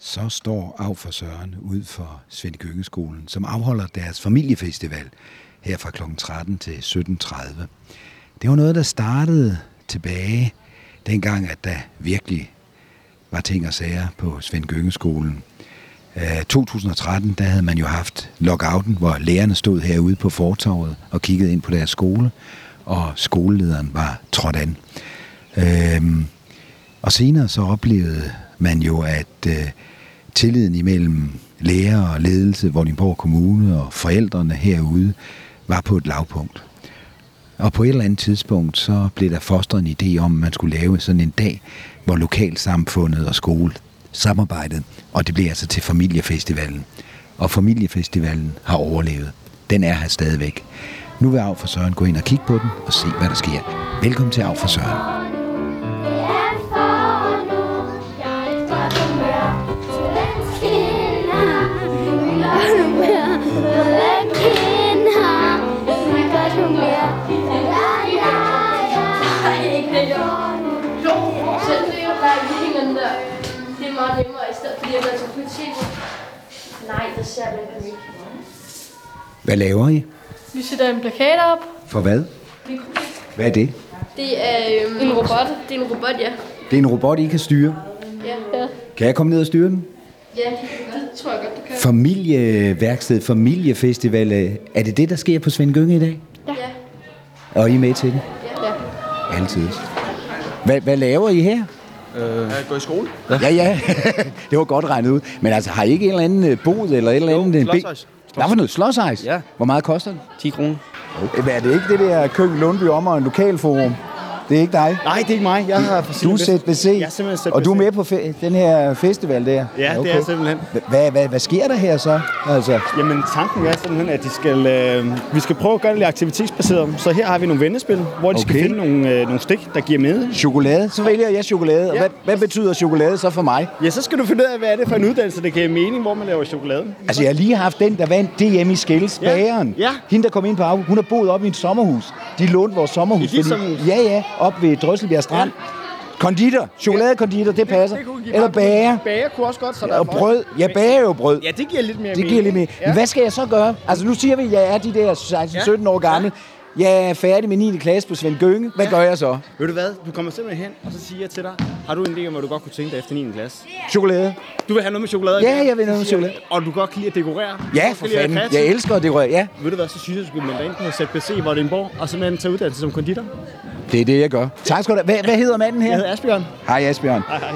så står Af for Søren ud for Svend Køkkeskolen, som afholder deres familiefestival her fra kl. 13 til 17.30. Det var noget, der startede tilbage dengang, at der virkelig var ting og sager på Svend Køkkeskolen. 2013, der havde man jo haft lockouten, hvor lærerne stod herude på fortorvet og kiggede ind på deres skole, og skolelederen var trådt an. Øhm, og senere så oplevede man jo, at øh, tilliden imellem lærer og ledelse, Vordingborg Kommune og forældrene herude, var på et lavpunkt. Og på et eller andet tidspunkt, så blev der fostret en idé om, at man skulle lave sådan en dag, hvor lokalsamfundet og skole samarbejdet, og det blev altså til familiefestivalen. Og familiefestivalen har overlevet. Den er her stadigvæk. Nu vil Af for Søren gå ind og kigge på den og se, hvad der sker. Velkommen til Af for Søren. meget nemmere, i stedet fordi jeg går til politik. Nej, det ser man ikke. Hvad laver I? Vi sætter en plakat op. For hvad? Hvad er det? Det er øhm, en robot. Det er en robot, ja. Det er en robot, I kan styre. Ja. ja. Kan jeg komme ned og styre den? Ja, det tror jeg godt, du kan. Familieværksted, familiefestival, øh, er det det, der sker på Svend Gynge i dag? Ja. Og I er med til det? Ja. Altid. Hvad, hvad laver I her? Øh... Jeg går i skole. Ja, ja. ja. det var godt regnet ud. Men altså, har I ikke en eller anden bod eller et eller andet? øh, Jo, slåsajs. Der var noget slåsajs? Ja. Hvor meget koster det? 10 kroner. Okay. Hvad er det ikke det der Køkken Lundby om og en lokalforum? Det er ikke dig? Nej, det er ikke mig. Jeg har for Du er ZBC, Jeg er simpelthen ZBC. og du er med på fe- den her festival der? Ja, det er jeg simpelthen. Hvad, hvad, hvad sker der her så? Altså, Jamen, tanken er simpelthen, at de skal, øh, vi skal prøve at gøre det lidt aktivitetsbaseret. Så her har vi nogle vendespil, hvor de okay. Okay. skal finde nogle, øh, nogle stik, der giver med. chokolade. Så vælger jeg chokolade. Og Ja. hvad, hvad betyder chokolade så for mig? Ja, så skal du finde ud af, hvad er det for en uddannelse, der giver mening, hvor man laver chokolade. Altså, jeg har lige haft den, der vandt DM i Skels, Ja. bageren. Ja. Hende, der kom ind på Aarhus, hun har boet op i et sommerhus. De lånte vores sommerhus. I dit sommerhus? Ja, ja, op ved Drøsselbjerg Strand. Konditor, chokoladekonditor, det passer. Det kunne give Eller mange penge. bager. Bager kunne også godt, så der er Og meget- brød. Jeg bager jo brød. Ja, det giver lidt mere Det mening. giver lidt mere. Ja. Men hvad skal jeg så gøre? Altså, nu siger vi, at jeg er de der 16-17 år gammel. Jeg er færdig med 9. klasse på Svend Gønge. Hvad gør jeg så? Ved du hvad? Du kommer simpelthen hen, og så siger jeg til dig, har du en idé om, hvad du godt kunne tænke dig efter 9. klasse? Chokolade. Du vil have noget med chokolade? Ja, jeg vil noget Så med siger chokolade. Og du godt kan lide at dekorere? Du Ja, godt for kan lide at være fanden. kreativ. Jeg elsker at dekorere. Ja, Ved du hvad, så synes jeg, du skulle melde dig ind på ZBC i Vordingborg, og simpelthen tage uddannelse som konditor. det er det, jeg gør. Tak skal du have. Hvad, hvad hedder manden Jeg her? hedder Asbjørn. Hej, Asbjørn. Hej, hej.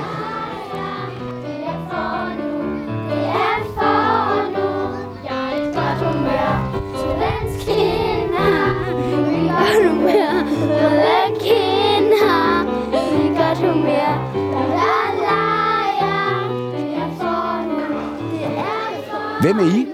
Hvem er I?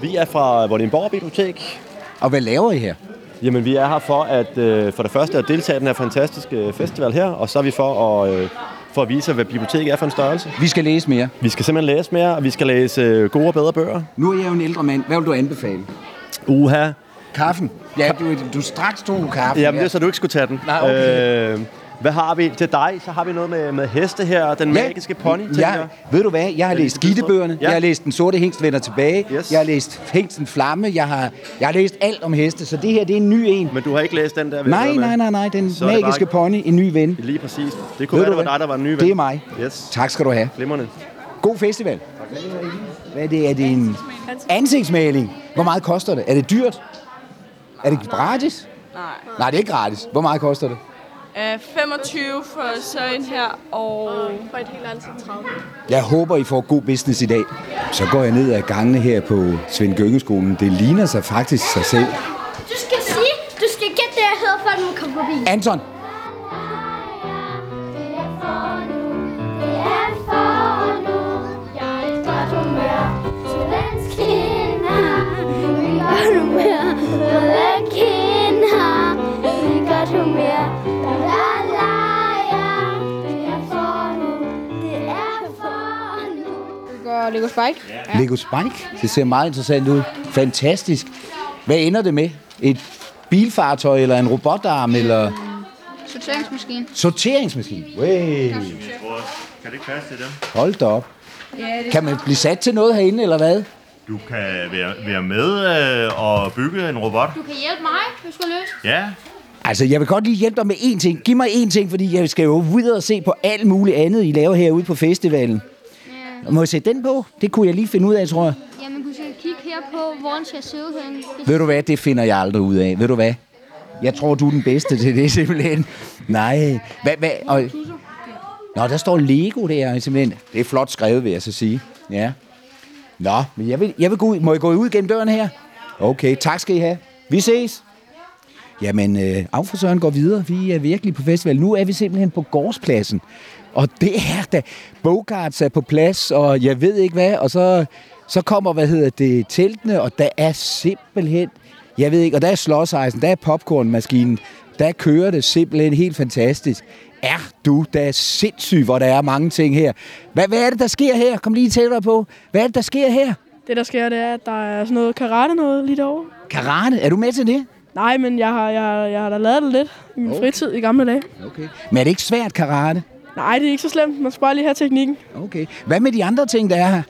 Vi er fra Vordingborg Bibliotek. Og hvad laver I her? Jamen, vi er her for at øh, for det første at deltage i den her fantastiske øh, festival her, og så er vi for at, øh, for at vise, hvad biblioteket er for en størrelse. Vi skal læse mere. Vi skal simpelthen læse mere, og vi skal læse øh, gode og bedre bøger. Nu er jeg jo en ældre mand. Hvad vil du anbefale? Uha. Kaffen. Ja, du, du straks tog kaffen. Jamen, det ja. er så, du ikke skulle tage den. Nej, okay. Øh, hvad har vi til dig? Så har vi noget med, med heste her, den magiske pony, tænker Ja, jeg. ved du hvad? Jeg har Den læst lille gittebøgerne. bødslå. Ja. Ja. Jeg har læst Den Sorte Hengst vender tilbage. Yes. Jeg har læst Hengsten Flamme. Jeg har, jeg har læst alt om heste, så det her det er en ny en. Men du har ikke læst den der? vi Nej, hører med. nej, nej, nej. Den Så er det magiske bare- pony, en ny ven. Lige præcis. Det kunne Ved være, du det var hvad? dig, der var en ny ven. Det er mig. Yes. Tak skal du have. Glimrende. God festival. Hvad er det? Er det en ansigtsmaling? Hvor meget koster det? Er det dyrt? Er det gratis? Nej. Nej, det er ikke gratis. Hvor meget koster det? Øh, 25 for sådan her, og... For et helt andet 30. Jeg håber, I får god business i dag. Så går jeg ned ad gangene her på Svend Gyngeskolen. Det ligner sig faktisk sig selv. Du skal sige, du skal gætte det, jeg hedder, før du må komme forbi. Anton, Går Lego Spike? Lego Spike. Det ser meget interessant ud. Fantastisk. Hvad ender det med? Et bilfartøj eller en robotarm eller Sorteringsmaskine. sorteringsmaskine? Way. Kan det ikke passe til dem? Hold da op. Kan man blive sat til noget herinde, eller hvad? Du kan være, være med øh, og bygge en robot. Du kan hjælpe mig, hvis du skal løse. Ja, Altså, jeg vil godt lige hjælpe dig med én ting. Giv mig én ting, fordi jeg skal jo videre og se på alt muligt andet, I laver herude på festivalen. Må jeg sætte den på? Det kunne jeg lige finde ud af, tror jeg. Jamen, du skal kigge her på, hvor den skal sidde henne. Det Ved du hvad, det finder jeg aldrig ud af. Ved du hvad? Jeg tror, du er den bedste til det, simpelthen. Nej. Hvad, hvad? Og... Nå, der står Lego der, simpelthen. Det er flot skrevet, vil jeg så sige. Ja. Nå, men jeg vil, jeg vil gå ud. Må jeg gå ud gennem døren her? Okay, tak skal I have. Vi ses. Jamen, øh, affrisøren går videre. Vi er virkelig på festival. Nu er vi simpelthen på gårdspladsen. Og det er da Bogarts er på plads, og jeg ved ikke hvad. Og så, så kommer, hvad hedder det, teltene, og der er simpelthen... Jeg ved ikke, og der er slåsejsen, der er popcornmaskinen. Der kører det simpelthen helt fantastisk. Er du da sindssyg, hvor der er mange ting her. Hvad, hvad er det, der sker her? Kom lige tættere på. Hvad er det, der sker her? Det, der sker, det er, at der er sådan noget karate noget lige derovre. Karate, er du med til det? Nej, men jeg har, jeg, har- jeg har da lavet det lidt i min fritid i gamle dage. Okay. Men er det ikke svært karate? Nej, det er ikke så slemt. Man skal bare lige have teknikken. Okay. Hvad med de andre ting, der er her?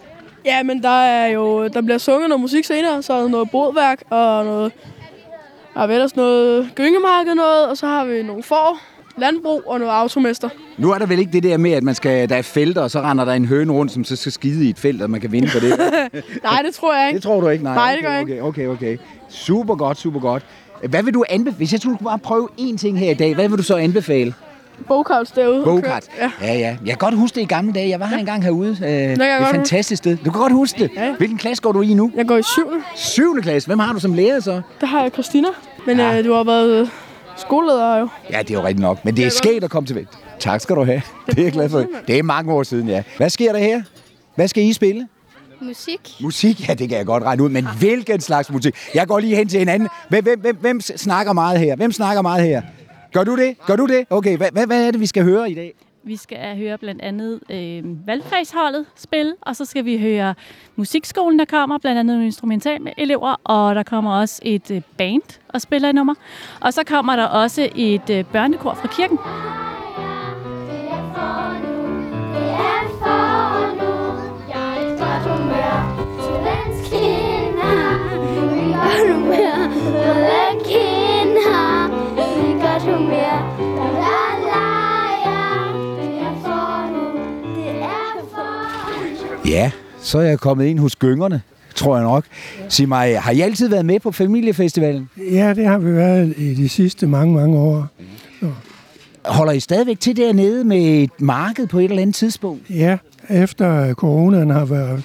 Ja, men der er jo... Der bliver sunget noget musik senere, så er der noget bodværk og noget... Der er vel også noget gyngemarked noget, og så har vi nogle får, landbrug og noget automester. Nu er der vel ikke det der med, at man skal, der er felter, og så render der en høne rundt, som så skal skide i et felt, og man kan vinde på det. Nej, det tror jeg ikke. det tror du ikke? Nej, Nej, det gør jeg okay, okay, okay, okay. Super godt, super godt. Hvad vil du anbefale? Hvis jeg skulle bare prøve én ting her i dag, hvad vil du så anbefale? Bogkarts derude. Go-kart. Ja. ja, ja. Jeg kan godt huske det i gamle dage. Jeg var her engang herude. Øh, det jeg er et godt fantastisk sted. Du kan godt huske det. ja. Hvilken klasse går du i nu? Jeg går i syvende. 7. klasse. Hvem har du som lærer så? Der har jeg Christina. Men Ja. ja. øh, du har været øh, skoleleder jo. Ja, det er jo rigtigt nok. Men det er sket at komme til vægt. Tak skal du have. Det er jeg glad for. Det er mange år siden, ja. Hvad sker der her? Hvad skal I spille? Musik. Musik, ja, det kan jeg godt regne ud, men hvilken slags musik? Jeg går lige hen til hinanden. Hvem, hvem, hvem, hvem snakker meget her? Hvem snakker meget her? Gør du det? Gør du det? Okay, hvad, hvad, hvad er det, vi skal høre i dag? Vi skal høre blandt andet øh, valgfagsholdet spille, og så skal vi høre musikskolen, der kommer, blandt andet nogle instrumentalelever, og der kommer også et øh, band og spiller et nummer. Og så kommer der også et øh, børnekor fra kirken. Ja, så er jeg kommet ind hos gyngerne, tror jeg nok. Sig mig, har I altid været med på familiefestivalen? Ja, det har vi været i de sidste mange, mange år. Holder I stadigvæk til dernede med et marked på et eller andet tidspunkt? Ja, efter coronaen har været,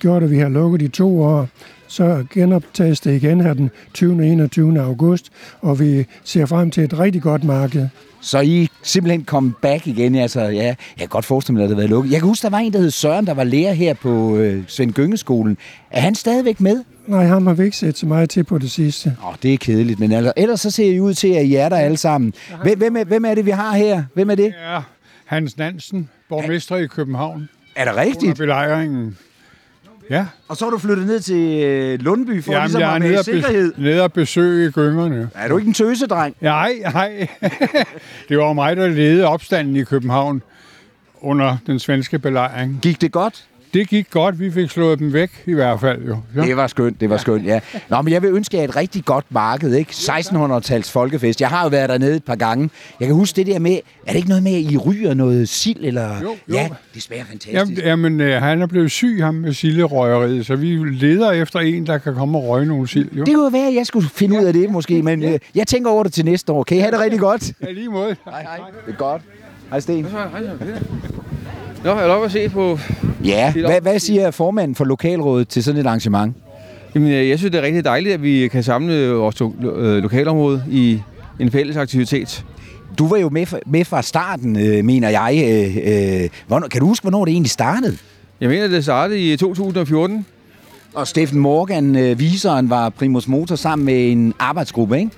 gjort, at vi har lukket i to år, så genoptages det igen her den 20. og 21. august, og vi ser frem til et rigtig godt marked. Så I er simpelthen kom back igen, altså ja. Jeg kan godt forestille mig, at det har været lukket. Jeg kan huske, der var en, der hed Søren, der var lærer her på øh, Svend Gyngeskolen. Er han stadigvæk med? Nej, ham har vi ikke set så meget til på det sidste. Åh, det er kedeligt, men altså, ellers så ser I ud til, at I er der alle sammen. Hvem, hvem, er, hvem er det, vi har her? Hvem er det? er Hans Nansen, borgmester i København, Er det under rigtigt? belejringen. Ja, Og så er du flyttet ned til øh, Lundby for Jamen, ligesom jeg at er være nede i og, sikkerhed. be- nede og besøge gyngerne. Er du ikke en tøsedreng? Nej, nej. det var mig, der ledede opstanden i København under den svenske belejring. Gik det godt? Det gik godt, vi fik slået dem væk i hvert fald jo. Ja. Det var skønt, det var skønt, ja. Nå, men jeg vil ønske jer et rigtig godt marked, ikke? 1600-tals folkefest. Jeg har jo været dernede et par gange. Jeg kan huske det der med, er det ikke noget med, at I ryger noget sild? Eller... Jo, jo. Ja, det smager fantastisk. Jamen, jamen øh, han er blevet syg, ham med silderøgeriet, så vi leder efter en, der kan komme og røge nogle sild. Jo. Det kunne jo være, at jeg skulle finde ud af det måske, men øh, jeg tænker over det til næste år. Kan I have det rigtig godt? Ja, lige måde. Hej, hej. Det er godt. Hej, Sten. Nå, jeg er lov at se på... Ja, hvad, hvad siger formanden for lokalrådet til sådan et arrangement? Jamen, øh, jeg synes, det er rigtig dejligt, at vi kan samle vores to, øh, lokalområde i en fælles aktivitet. Du var jo med, fra- med fra starten, øh, mener jeg. Øh, øh, hvornår, kan du huske, hvornår det egentlig startede? Jeg mener, det startede i 2014. Og Steffen Morgan, øh, viseren, var primus motor sammen med en arbejdsgruppe, ikke?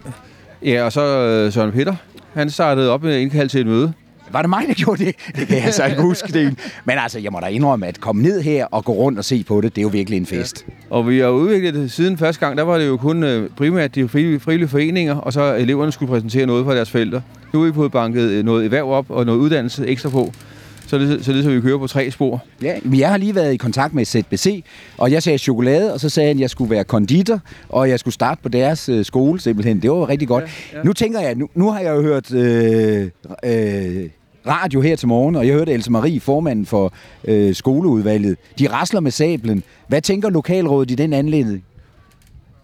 Ja, og så øh, Søren Peter. Han startede op med at indkalde til et møde. Var det mig, der gjorde det? Det kan jeg så ikke huske. Det. Men altså, jeg må da indrømme, at komme ned her og gå rundt og se på det, det er jo virkelig en fest. Og vi har udviklet det siden første gang. Der var det jo kun øh, primært de fri- frivillige foreninger, og så eleverne skulle præsentere noget for deres forældre. Nu har vi fået banket øh, noget erhverv op og noget uddannelse ekstra på. Så det, så det så vi kører på tre spor. Ja, men jeg har lige været i kontakt med ZBC, og jeg sagde chokolade, og så sagde jeg, at jeg skulle være konditor, og jeg skulle starte på deres øh, skole simpelthen. Det var jo rigtig godt. Ja, ja. Nu tænker jeg, nu, nu har jeg jo hørt øh, øh, radio her til morgen, og jeg hørte Else Marie, formanden for øh, skoleudvalget. De rasler med sablen. Hvad tænker lokalrådet i den anledning?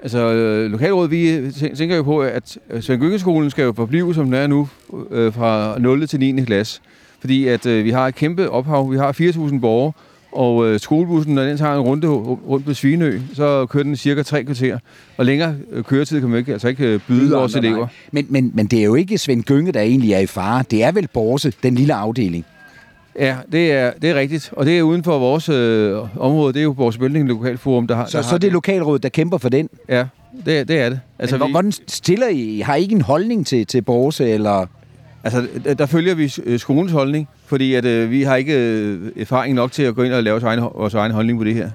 Altså, øh, lokalrådet, vi tæ- tænker jo på, at øh, Svend Gyngeskolen skal jo forblive, som den er nu, øh, fra 0. til 9. klasse. Fordi at øh, vi har et kæmpe ophav. Vi har 4.000 borgere, og øh, skolebussen, når den tager en runde rundt på Svinø, så kører den cirka tre kvarter. Og længere øh, køretid kan man ikke, altså ikke øh, byde Byder vores andre, elever. nej. Men, men, men det er jo ikke Svend Gynge, der egentlig er i fare. Det er vel Borse, den lille afdeling. Ja, det er, det er rigtigt. Og det er uden for vores øh, område. Det er jo vores Bølling Lokalforum, der har... Så, der så har det er lokalrådet, der kæmper for den. Ja, det, er- det er det. Altså, men, hvor- hvordan stiller I? Har I ikke en holdning til, til Borse, eller... Altså, der- der følger vi øh, skolens holdning, fordi at, øh, vi har ikke øh, erfaring nok til at gå ind og lave vores egen, vores egen holdning på det her.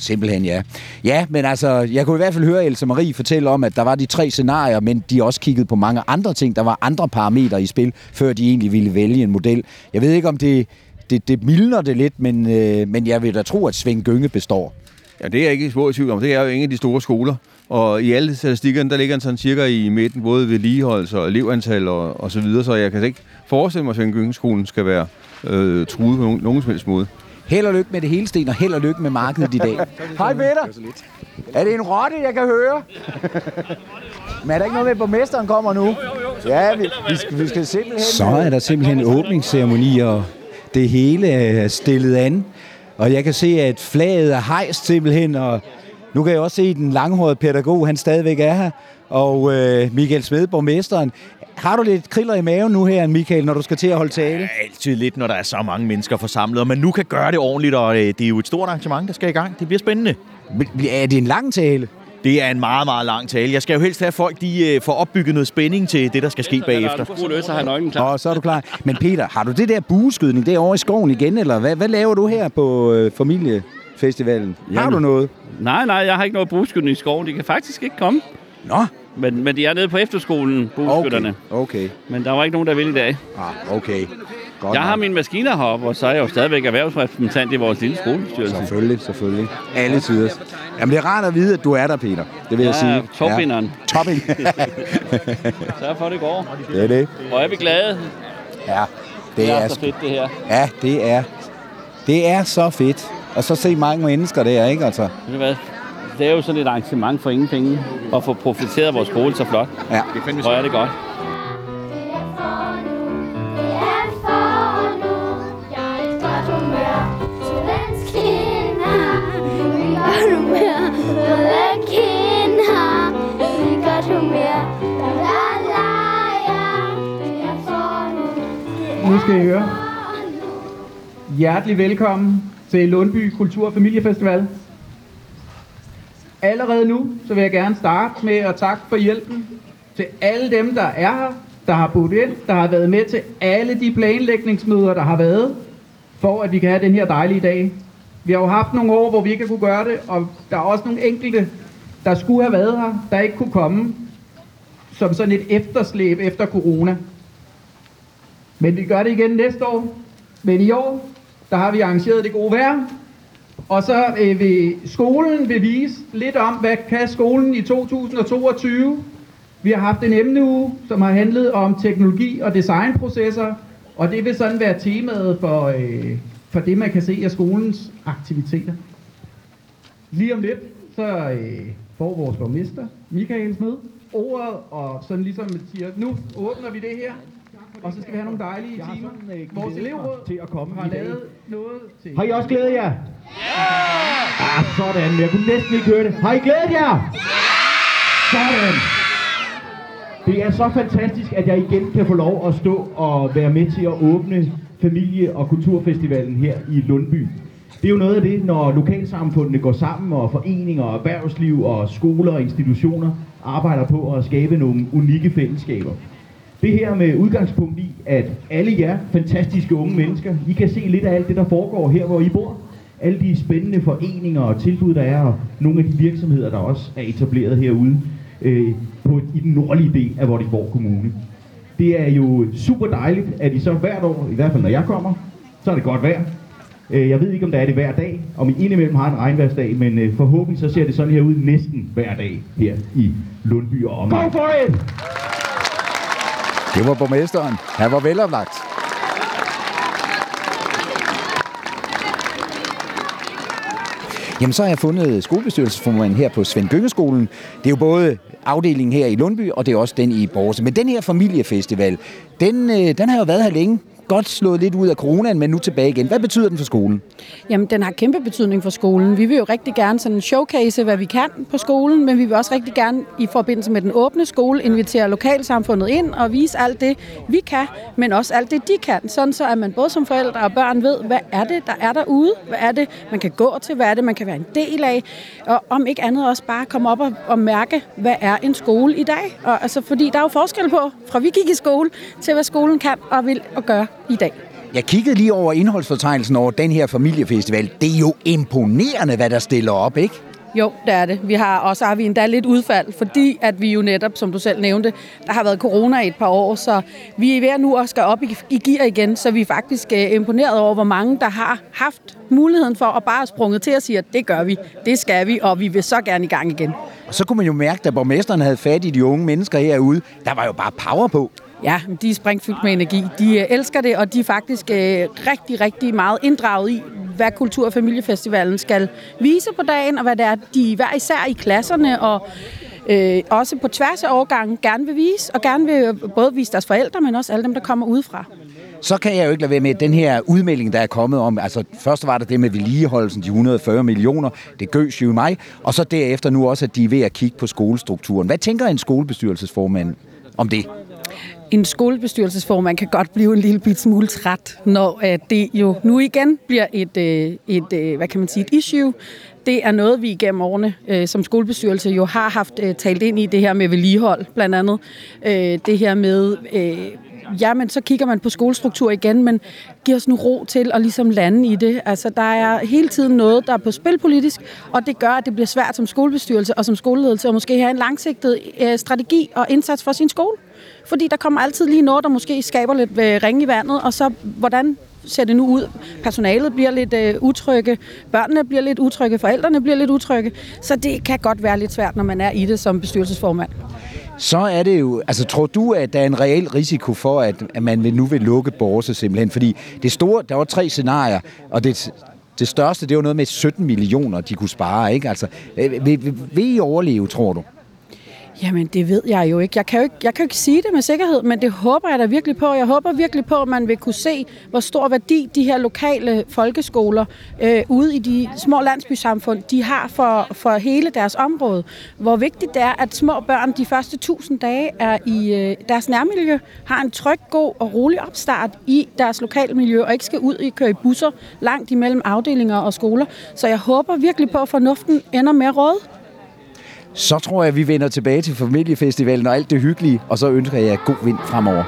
Simpelthen, ja. Ja, men altså, jeg kunne i hvert fald høre Else Marie fortælle om, at der var de tre scenarier, men de også kiggede på mange andre ting. Der var andre parametre i spil, før de egentlig ville vælge en model. Jeg ved ikke, om det, det, det mildner det lidt, men, øh, men jeg vil da tro, at Svend Gynge består. Ja, det er jeg ikke spor i tvivl om. Det er jo en af de store skoler. Og i alle statistikkerne, der ligger den sådan cirka i midten, både vedligeholdelse og elevantal og, og så videre. Så jeg kan ikke forestille mig, at Svend Gyngeskolen skal være øh, truet på nogen, nogen som helst måde. Held og lykke med det hele, Sten, og held og lykke med markedet i dag. Hej, Peter. Er det en rotte, jeg kan høre? Men er der ikke noget med, at borgmesteren kommer nu? Jo, jo, jo. Ja, vi, vi, skal, vi skal simpelthen... Så er der simpelthen åbningsceremoni, og det hele er stillet an. Og jeg kan se, at flaget er hejst simpelthen, og nu kan jeg også se, at den langhårede pædagog, han stadigvæk er her. Og øh, Michael Smed, borgmesteren. Har du lidt kriller i maven nu her, Michael, når du skal til at holde tale? altid lidt, når der er så mange mennesker forsamlet, men nu kan gøre det ordentligt, og øh, det er jo et stort arrangement, der skal i gang. Det bliver spændende. Er det en lang tale? Det er en meget, meget lang tale. Jeg skal jo helst have at folk, de øh, får opbygget noget spænding til det, der skal ske bagefter. Og så er du klar. Men Peter, har du det der bueskydning derovre i skoven igen, eller hvad, hvad laver du her på øh, familiefestivalen? Har Jamen. du noget? Nej, nej, jeg har ikke noget brugskydning i skoven. De kan faktisk ikke komme. Nå. Men, men de er nede på efterskolen, brugskytterne. Okay, okay. Men der var ikke nogen, der ville i dag. Ah, okay. Godt jeg har mine maskiner heroppe, og så er jeg jo stadigvæk erhvervsrepræsentant i vores lille skolebestyrelse. Selvfølgelig, selvfølgelig. Alle tider. Jamen, det er rart at vide, at du er der, Peter. Det vil jeg, Jeg sige. er topvinderen. Ja. Topvinderen. Sørg for, at det går. det er det. Og er vi glade? Ja, Det det er er så sgu- fedt, det her. Ja, det er. Det er så fedt. Og så se mange mennesker der, ikke? Altså. Ved du hvad? Det er jo sådan et arrangement for ingen penge. Og få profiteret af vores skole så flot. Ja. Det er det godt. Nu skal I høre. Hjertelig velkommen til Lundby Kultur- og Familiefestival. Allerede nu, så vil jeg gerne starte med at takke for hjælpen til alle dem, der er her, der har budt ind, der har været med til alle de planlægningsmøder, der har været, for at vi kan have den her dejlige dag. Vi har jo haft nogle år, hvor vi ikke har kunne gøre det, og der er også nogle enkelte, der skulle have været her, der ikke kunne komme, som sådan et efterslæb efter corona. Men vi gør det igen næste år. Men i år, der har vi arrangeret det gode vejr. Og så øh, vil skolen vil vise lidt om, hvad kan skolen i 2022. Vi har haft en emneuge, som har handlet om teknologi og designprocesser. Og det vil sådan være temaet for, øh, for det, man kan se af skolens aktiviteter. Lige om lidt, så øh, får vores borgmester, Michael Smed, ordet, og sådan ligesom siger, nu åbner vi det her, og så skal vi have nogle dejlige timer. øh, Vores elevråd til at komme har i dag. lavet noget til... Har I også glædet jer? Ja! Ah, sådan. Jeg kunne næsten ikke høre det. Har I glædet jer? Ja! Sådan. Det er så fantastisk, at jeg igen kan få lov at stå og være med til at åbne familie- og kulturfestivalen her i Lundby. Det er jo noget af det, når lokalsamfundene går sammen, og foreninger, og erhvervsliv og skoler og institutioner arbejder på at skabe nogle unikke fællesskaber. Det her med udgangspunkt i, at alle jer fantastiske unge mennesker, I kan se lidt af alt det, der foregår her, hvor I bor. Alle de spændende foreninger og tilbud, der er, og nogle af de virksomheder, der også er etableret herude øh, på, i den nordlige del af Vordingborg Kommune. Det er jo super dejligt, at I så hvert år, i hvert fald når jeg kommer, så er det godt vejr. Øh, Jeg ved ikke, om der er det hver dag, om I indimellem har en regnværsdag, men øh, forhåbentlig så ser det sådan her ud næsten hver dag her i Lundby og omegn. for it! Det var borgmesteren. Han var veloplagt. Jamen, så har jeg fundet skolebestyrelsesformanden her på Svend Gyngeskolen. Det er jo både afdelingen her i Lundby, og det er også den i Borse. Men den her familiefestival, den, øh, den har jo været her længe. Godt slået lidt ud af coronaen, men nu tilbage igen. Hvad betyder den for skolen? Jamen, den har kæmpe betydning for skolen. Vi vil jo rigtig gerne sådan showcase, hvad vi kan på skolen, men vi vil også rigtig gerne i forbindelse med den åbne skole invitere lokalsamfundet ind og vise alt det, vi kan, men også alt det, de kan. Sådan så, at man både som forældre og børn ved, hvad er det, der er derude? Hvad er det, man kan gå til? Hvad er det, man kan være en del af? Og om ikke andet også bare komme op og, og mærke, hvad er en skole i dag? Og, altså, fordi der er jo forskel på, fra vi gik i skole, til hvad skolen kan og vil og gøre i dag. Jeg kiggede lige over indholdsfortegnelsen over den her familiefestival. Det er jo imponerende, hvad der stiller op, ikke? Jo, det er det. Vi har, og så har vi endda lidt udfald, fordi at vi jo netop, som du selv nævnte, der har været corona i et par år, så vi er ved at nu også skal op i, i gear igen, så vi er faktisk øh, imponeret over, hvor mange, der har haft muligheden for at bare have sprunget til og sige, at det gør vi, det skal vi, og vi vil så gerne i gang igen. Og så kunne man jo mærke, da borgmesteren havde fat i de unge mennesker herude, der var jo bare power på. Ja, men de er springfyldt med energi. De øh, elsker det, og de er faktisk øh, rigtig, rigtig meget inddraget i, hvad Kultur- og Familiefestivalen skal vise på dagen, og hvad det er, de hver især i klasserne og øh, også på tværs af årgangen gerne vil vise, og gerne vil både vise deres forældre, men også alle dem, der kommer udefra. Så kan jeg jo ikke lade være med den her udmelding, der er kommet om, altså først var der det med vedligeholdelsen, de 140 millioner, det gøs jo i mig, og så derefter nu også, at de er ved at kigge på skolestrukturen. Hvad tænker en skolebestyrelsesformand om det? En skolebestyrelsesformand kan godt blive en lille bit smule træt, når øh, det jo nu igen bliver et, øh, et øh, hvad kan man sige, et issue. Det er noget, vi igennem årene øh, som skolebestyrelse jo har haft øh, talt ind i, det her med vedligehold blandt andet. Øh, det her med, øh, jamen så kigger man på skolestruktur igen, men giver os nu ro til at ligesom lande i det. Altså der er hele tiden noget, der er på spil politisk, og det gør, at det bliver svært som skolebestyrelse og som skoleledelse at måske have en langsigtet øh, strategi og indsats for sin skole. Fordi der kommer altid lige noget, der måske skaber lidt øh, ringe i vandet, og så hvordan ser det nu ud? Personalet bliver lidt øh, utrygge, børnene bliver lidt utrygge, forældrene bliver lidt utrygge. Så det kan godt være lidt svært, når man er i det som bestyrelsesformand. Så er det jo, altså tror du, at der er en reel risiko for, at, at man vil- nu vil lukke Borse simpelthen? Fordi det store, der var tre scenarier, og det, det største, det var noget med 17 millioner, de kunne spare, ikke? Altså, øh, vil, vil, vil I overleve, tror du? Jamen, det ved jeg jo ikke. Jeg kan jo ikke, jeg kan jo ikke sige det med sikkerhed, men det håber jeg da virkelig på. Jeg håber virkelig på, at man vil kunne se, hvor stor værdi de her lokale folkeskoler øh, ude i de små landsbysamfund, de har for, for hele deres område. Hvor vigtigt det er, at små børn de første tusind dage er i øh, deres nærmiljø, har en tryg, god og rolig opstart i deres lokale miljø, og ikke skal ud i køre i busser langt imellem afdelinger og skoler. Så jeg håber virkelig på, at fornuften ender med råd. Så tror jeg, vi vender tilbage til familiefestivalen og alt det hyggelige, og så ønsker jeg jer god vind fremover.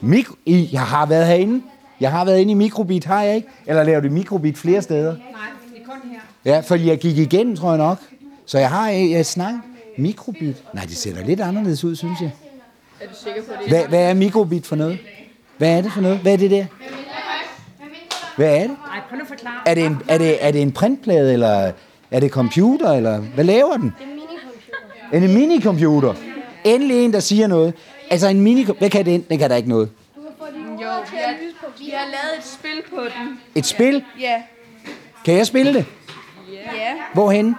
Mik- I, jeg har været herinde. Jeg har været inde i mikrobit, har jeg ikke? Eller laver det mikrobit flere steder? Nej, det er kun her. Ja, fordi jeg gik igennem, tror jeg nok. Så jeg har jeg, jeg snakket mikrobit. Nej, det ser da lidt anderledes ud, synes jeg. Er du sikker på det? Hvad, hvad er mikrobit for noget? Hvad er det for noget? Hvad er det der? Hvad er det? Nej, prøv nu at forklare. Er det en, er det, er det en printplade, eller er det computer, eller hvad laver den? Er det en minicomputer? Endelig en, der siger noget. Altså en mini... Hvad kan den? Den kan der ikke noget. Jo, vi har, vi har lavet et spil på den. Et spil? Ja. Kan jeg spille det? Ja. Hvorhen?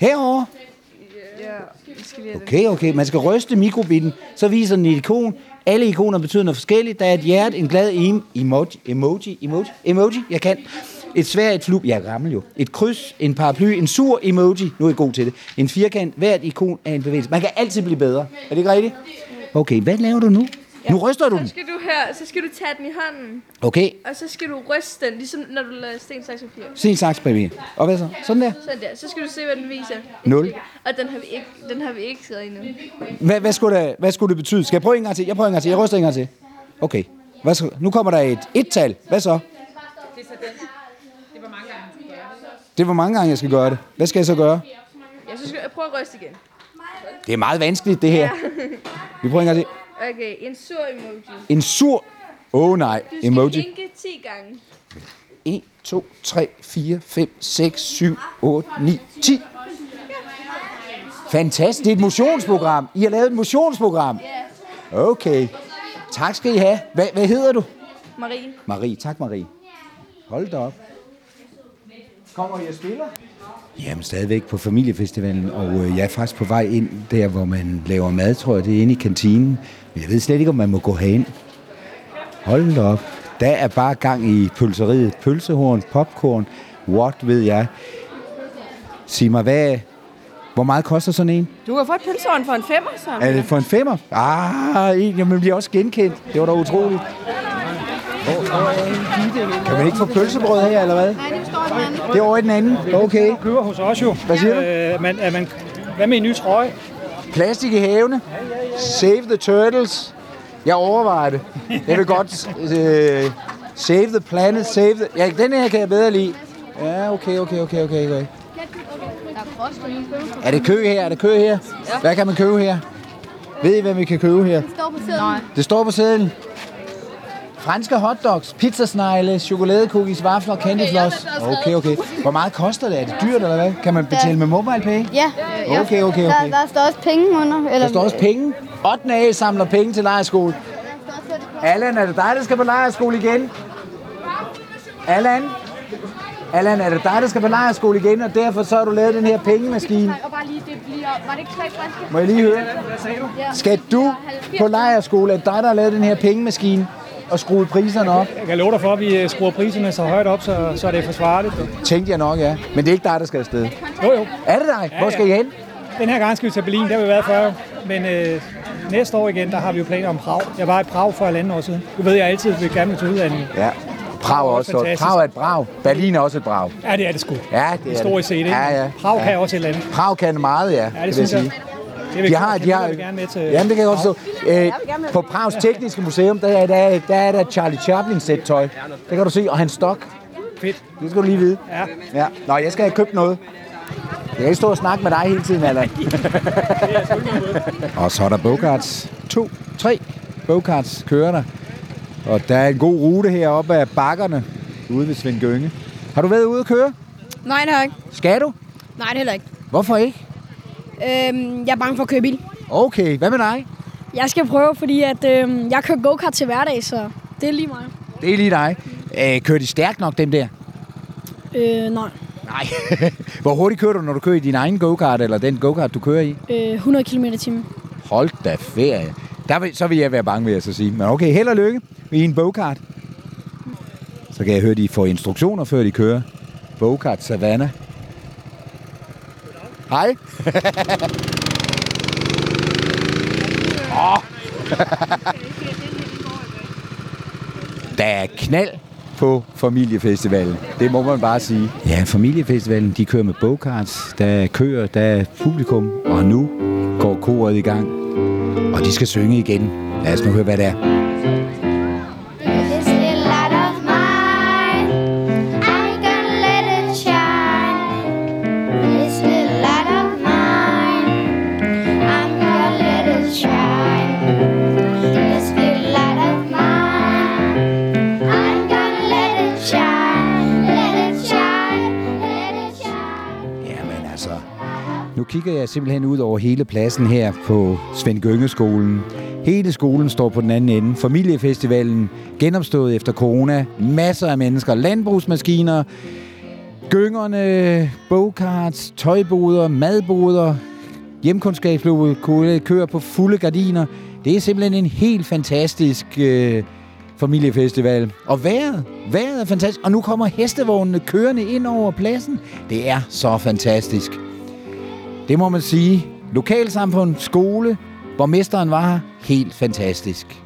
Herover. Okay, okay. Man skal ryste mikrobitten, så viser den et ikon. Alle ikoner betyder noget forskelligt. Der er et hjerte, en glad em- emoji, emoji, emoji, emoji, jeg kan. Et svær, et flub, jeg er gammel jo. Et kryds, en paraply, en sur emoji, nu er jeg god til det. En firkant, hvert ikon er en bevægelse. Man kan altid blive bedre. Er det ikke rigtigt? Okay, hvad laver du nu? Nu ryster du Så den. skal du her, så skal du tage den i hånden. Okay. Og så skal du ryste den, ligesom når du lader sten, saks og papir. Se en saks, baby. Og hvad så? Sådan der. Sådan der. Så skal du se, hvad den viser. Nul. Og den har vi ikke, den har vi ikke siddet endnu. Hvad, hvad, skulle det, hvad skulle det betyde? Skal jeg prøve en gang til? Jeg prøver en gang til. Jeg ryster en gang til. Okay. Hvad så? Nu kommer der et et-tal. Hvad så? Det var mange gange, jeg skal gøre det. Hvad skal jeg så gøre? Ja, så skal jeg prøve at ryste igen. Det er meget vanskeligt, det her. Vi prøver en gang til. Okay, en sur emoji. En sur... Åh oh, nej. Du skal Emoji. vinke 10 gange. 1, 2, 3, 4, 5, 6, 7, 8, 9, 10. Fantastisk. Det er et motionsprogram. I har lavet et motionsprogram. Okay. Tak skal I have. Hvad, hvad hedder du? Marie. Marie. Tak, Marie. Hold da op. Kommer I og spiller? Jamen, stadigvæk på familiefestivalen, og øh, jeg er faktisk på vej ind der, hvor man laver mad, tror jeg. Det er inde i kantinen. Men jeg ved slet ikke, om man må gå herind. Hold da op. Der er bare gang i pølseriet. Pølsehorn, popcorn, what ved jeg. Sig mig, hvad, hvor meget koster sådan en? Du kan få et pølsehorn for en femmer, så. Er det for en femmer? Ah, en, jamen, man bliver også genkendt. Det var da utroligt. Kan man ikke få pølsebrød her, eller hvad? Nej, det står den Det er over i den anden. Okay. køber hos os jo. Hvad siger du? Øh, man, er man, hvad med en ny trøje? Plastik i havene. Save the turtles. Jeg overvejer det. Jeg vil godt øh, save the planet, save the... Ja, den her kan jeg bedre lide. Ja, okay, okay, okay, okay, okay. Der er frost Er det kø her? Er det kø her? Hvad kan man købe her? Ved I, hvad vi kan købe her? står på siden. Nej. Det står på sædlen. Franske hotdogs, pizzasnegle, chokoladekugis, vafler, candyfloss. Okay, okay. Hvor meget koster det? Er det dyrt eller hvad? Kan man betale med MobilePay? Ja. Okay, okay, okay. Der, der står også penge under. Der står også penge. 8. A samler penge til lejerskole. Allan, er det dig, der skal på lejerskole igen? Allan? Allan, er det dig, der skal på lejerskole igen, og derfor så har du lavet den her pengemaskine? Og bare lige, det bliver... Var det ikke tre friske? Må jeg lige høre? Skal du på lejerskole? Er det dig, der har lavet den her pengemaskine og skruet priserne op? Jeg kan love dig for, at vi øh, skruer priserne så højt op, så, så er det forsvarligt. Tænkte jeg nok, ja. Men det er ikke dig, der skal afsted. Jo, jo. Er det dig? Hvor skal I hen? Den her gang skal vi til Berlin, der har vi været før. Men øh, næste år igen, der har vi jo planer om Prag. Jeg var i Prag for halvandet år siden. Du ved, jeg altid vil gerne vil til udlandet. Ja. Prag er også et Fantastisk. Prag er et brag. Berlin er også et brag. Ja, det er det sgu. Ja, det er Historisk set, det. ikke? Ja, ja. Prag kan ja. også et eller andet. Prag kan meget, ja. Ja, det synes jeg. Det vil de jeg har, de kæmpe, har, jeg vil gerne med til- jamen, det kan jeg godt forstå. Øh, gerne med på Prags Tekniske Museum, der, er- der, er- der er der et Charlie Chaplin sæt tøj. Det kan du se, og hans stok. Fedt. Det skal du lige vide. Ja. ja. Nå, jeg skal have købt noget. Jeg kan ikke stå og snakke med dig hele tiden, Allan. og så er der Bogarts. To, tre Bogarts kører der. Og der er en god rute heroppe af bakkerne ude ved Svend Gønge. Har du været ude at køre? Nej, det har jeg ikke. Skal du? Nej, det heller ikke. Hvorfor ikke? Øhm, jeg er bange for at køre bil. Okay, hvad med dig? Jeg skal prøve, fordi at, øhm, jeg kører go-kart til hverdag, så det er lige mig. Det er lige dig. Øh, kører de stærkt nok, dem der? Øh, nej. Nej. Hvor hurtigt kører du, når du kører i din egen go-kart, eller den go-kart, du kører i? Øh, 100 km i timen. Hold da ferie. Der vil, så vil jeg være bange, vil jeg så sige. Men okay, held og lykke i en go-kart. Så kan jeg høre, de får instruktioner, før de kører. Go-kart Savannah. Hej. Åh. Der er knald på familiefestivalen. Det må man bare sige. Ja, familiefestivalen, de kører med bogkarts, der er køer, der er publikum, og nu går koret i gang. Og de skal synge igen. Lad os nu høre, hvad det er. This little light of mine, I'm gonna let it shine. This little light of mine, I'm gonna let it shine. This little light of mine, I'm gonna let it shine. Let it shine, let it shine. Jamen altså, nu kigger jeg simpelthen ud over hele pladsen her på Svend Gyngeskolen. Hele skolen står på den anden ende. Familiefestivalen, genopstået efter corona. Masser af mennesker, landbrugsmaskiner, gyngerne, bogkarts, tøjboder, madboder, hjemkundskabsløbet kører på fulde gardiner. Det er simpelthen en helt fantastisk øh, familiefestival. Og vejret, vejret er fantastisk. Og nu kommer hestevognene kørende ind over pladsen. Det er så fantastisk. Det må man sige. Lokalsamfund, skole, borgmesteren var her. Helt fantastisk.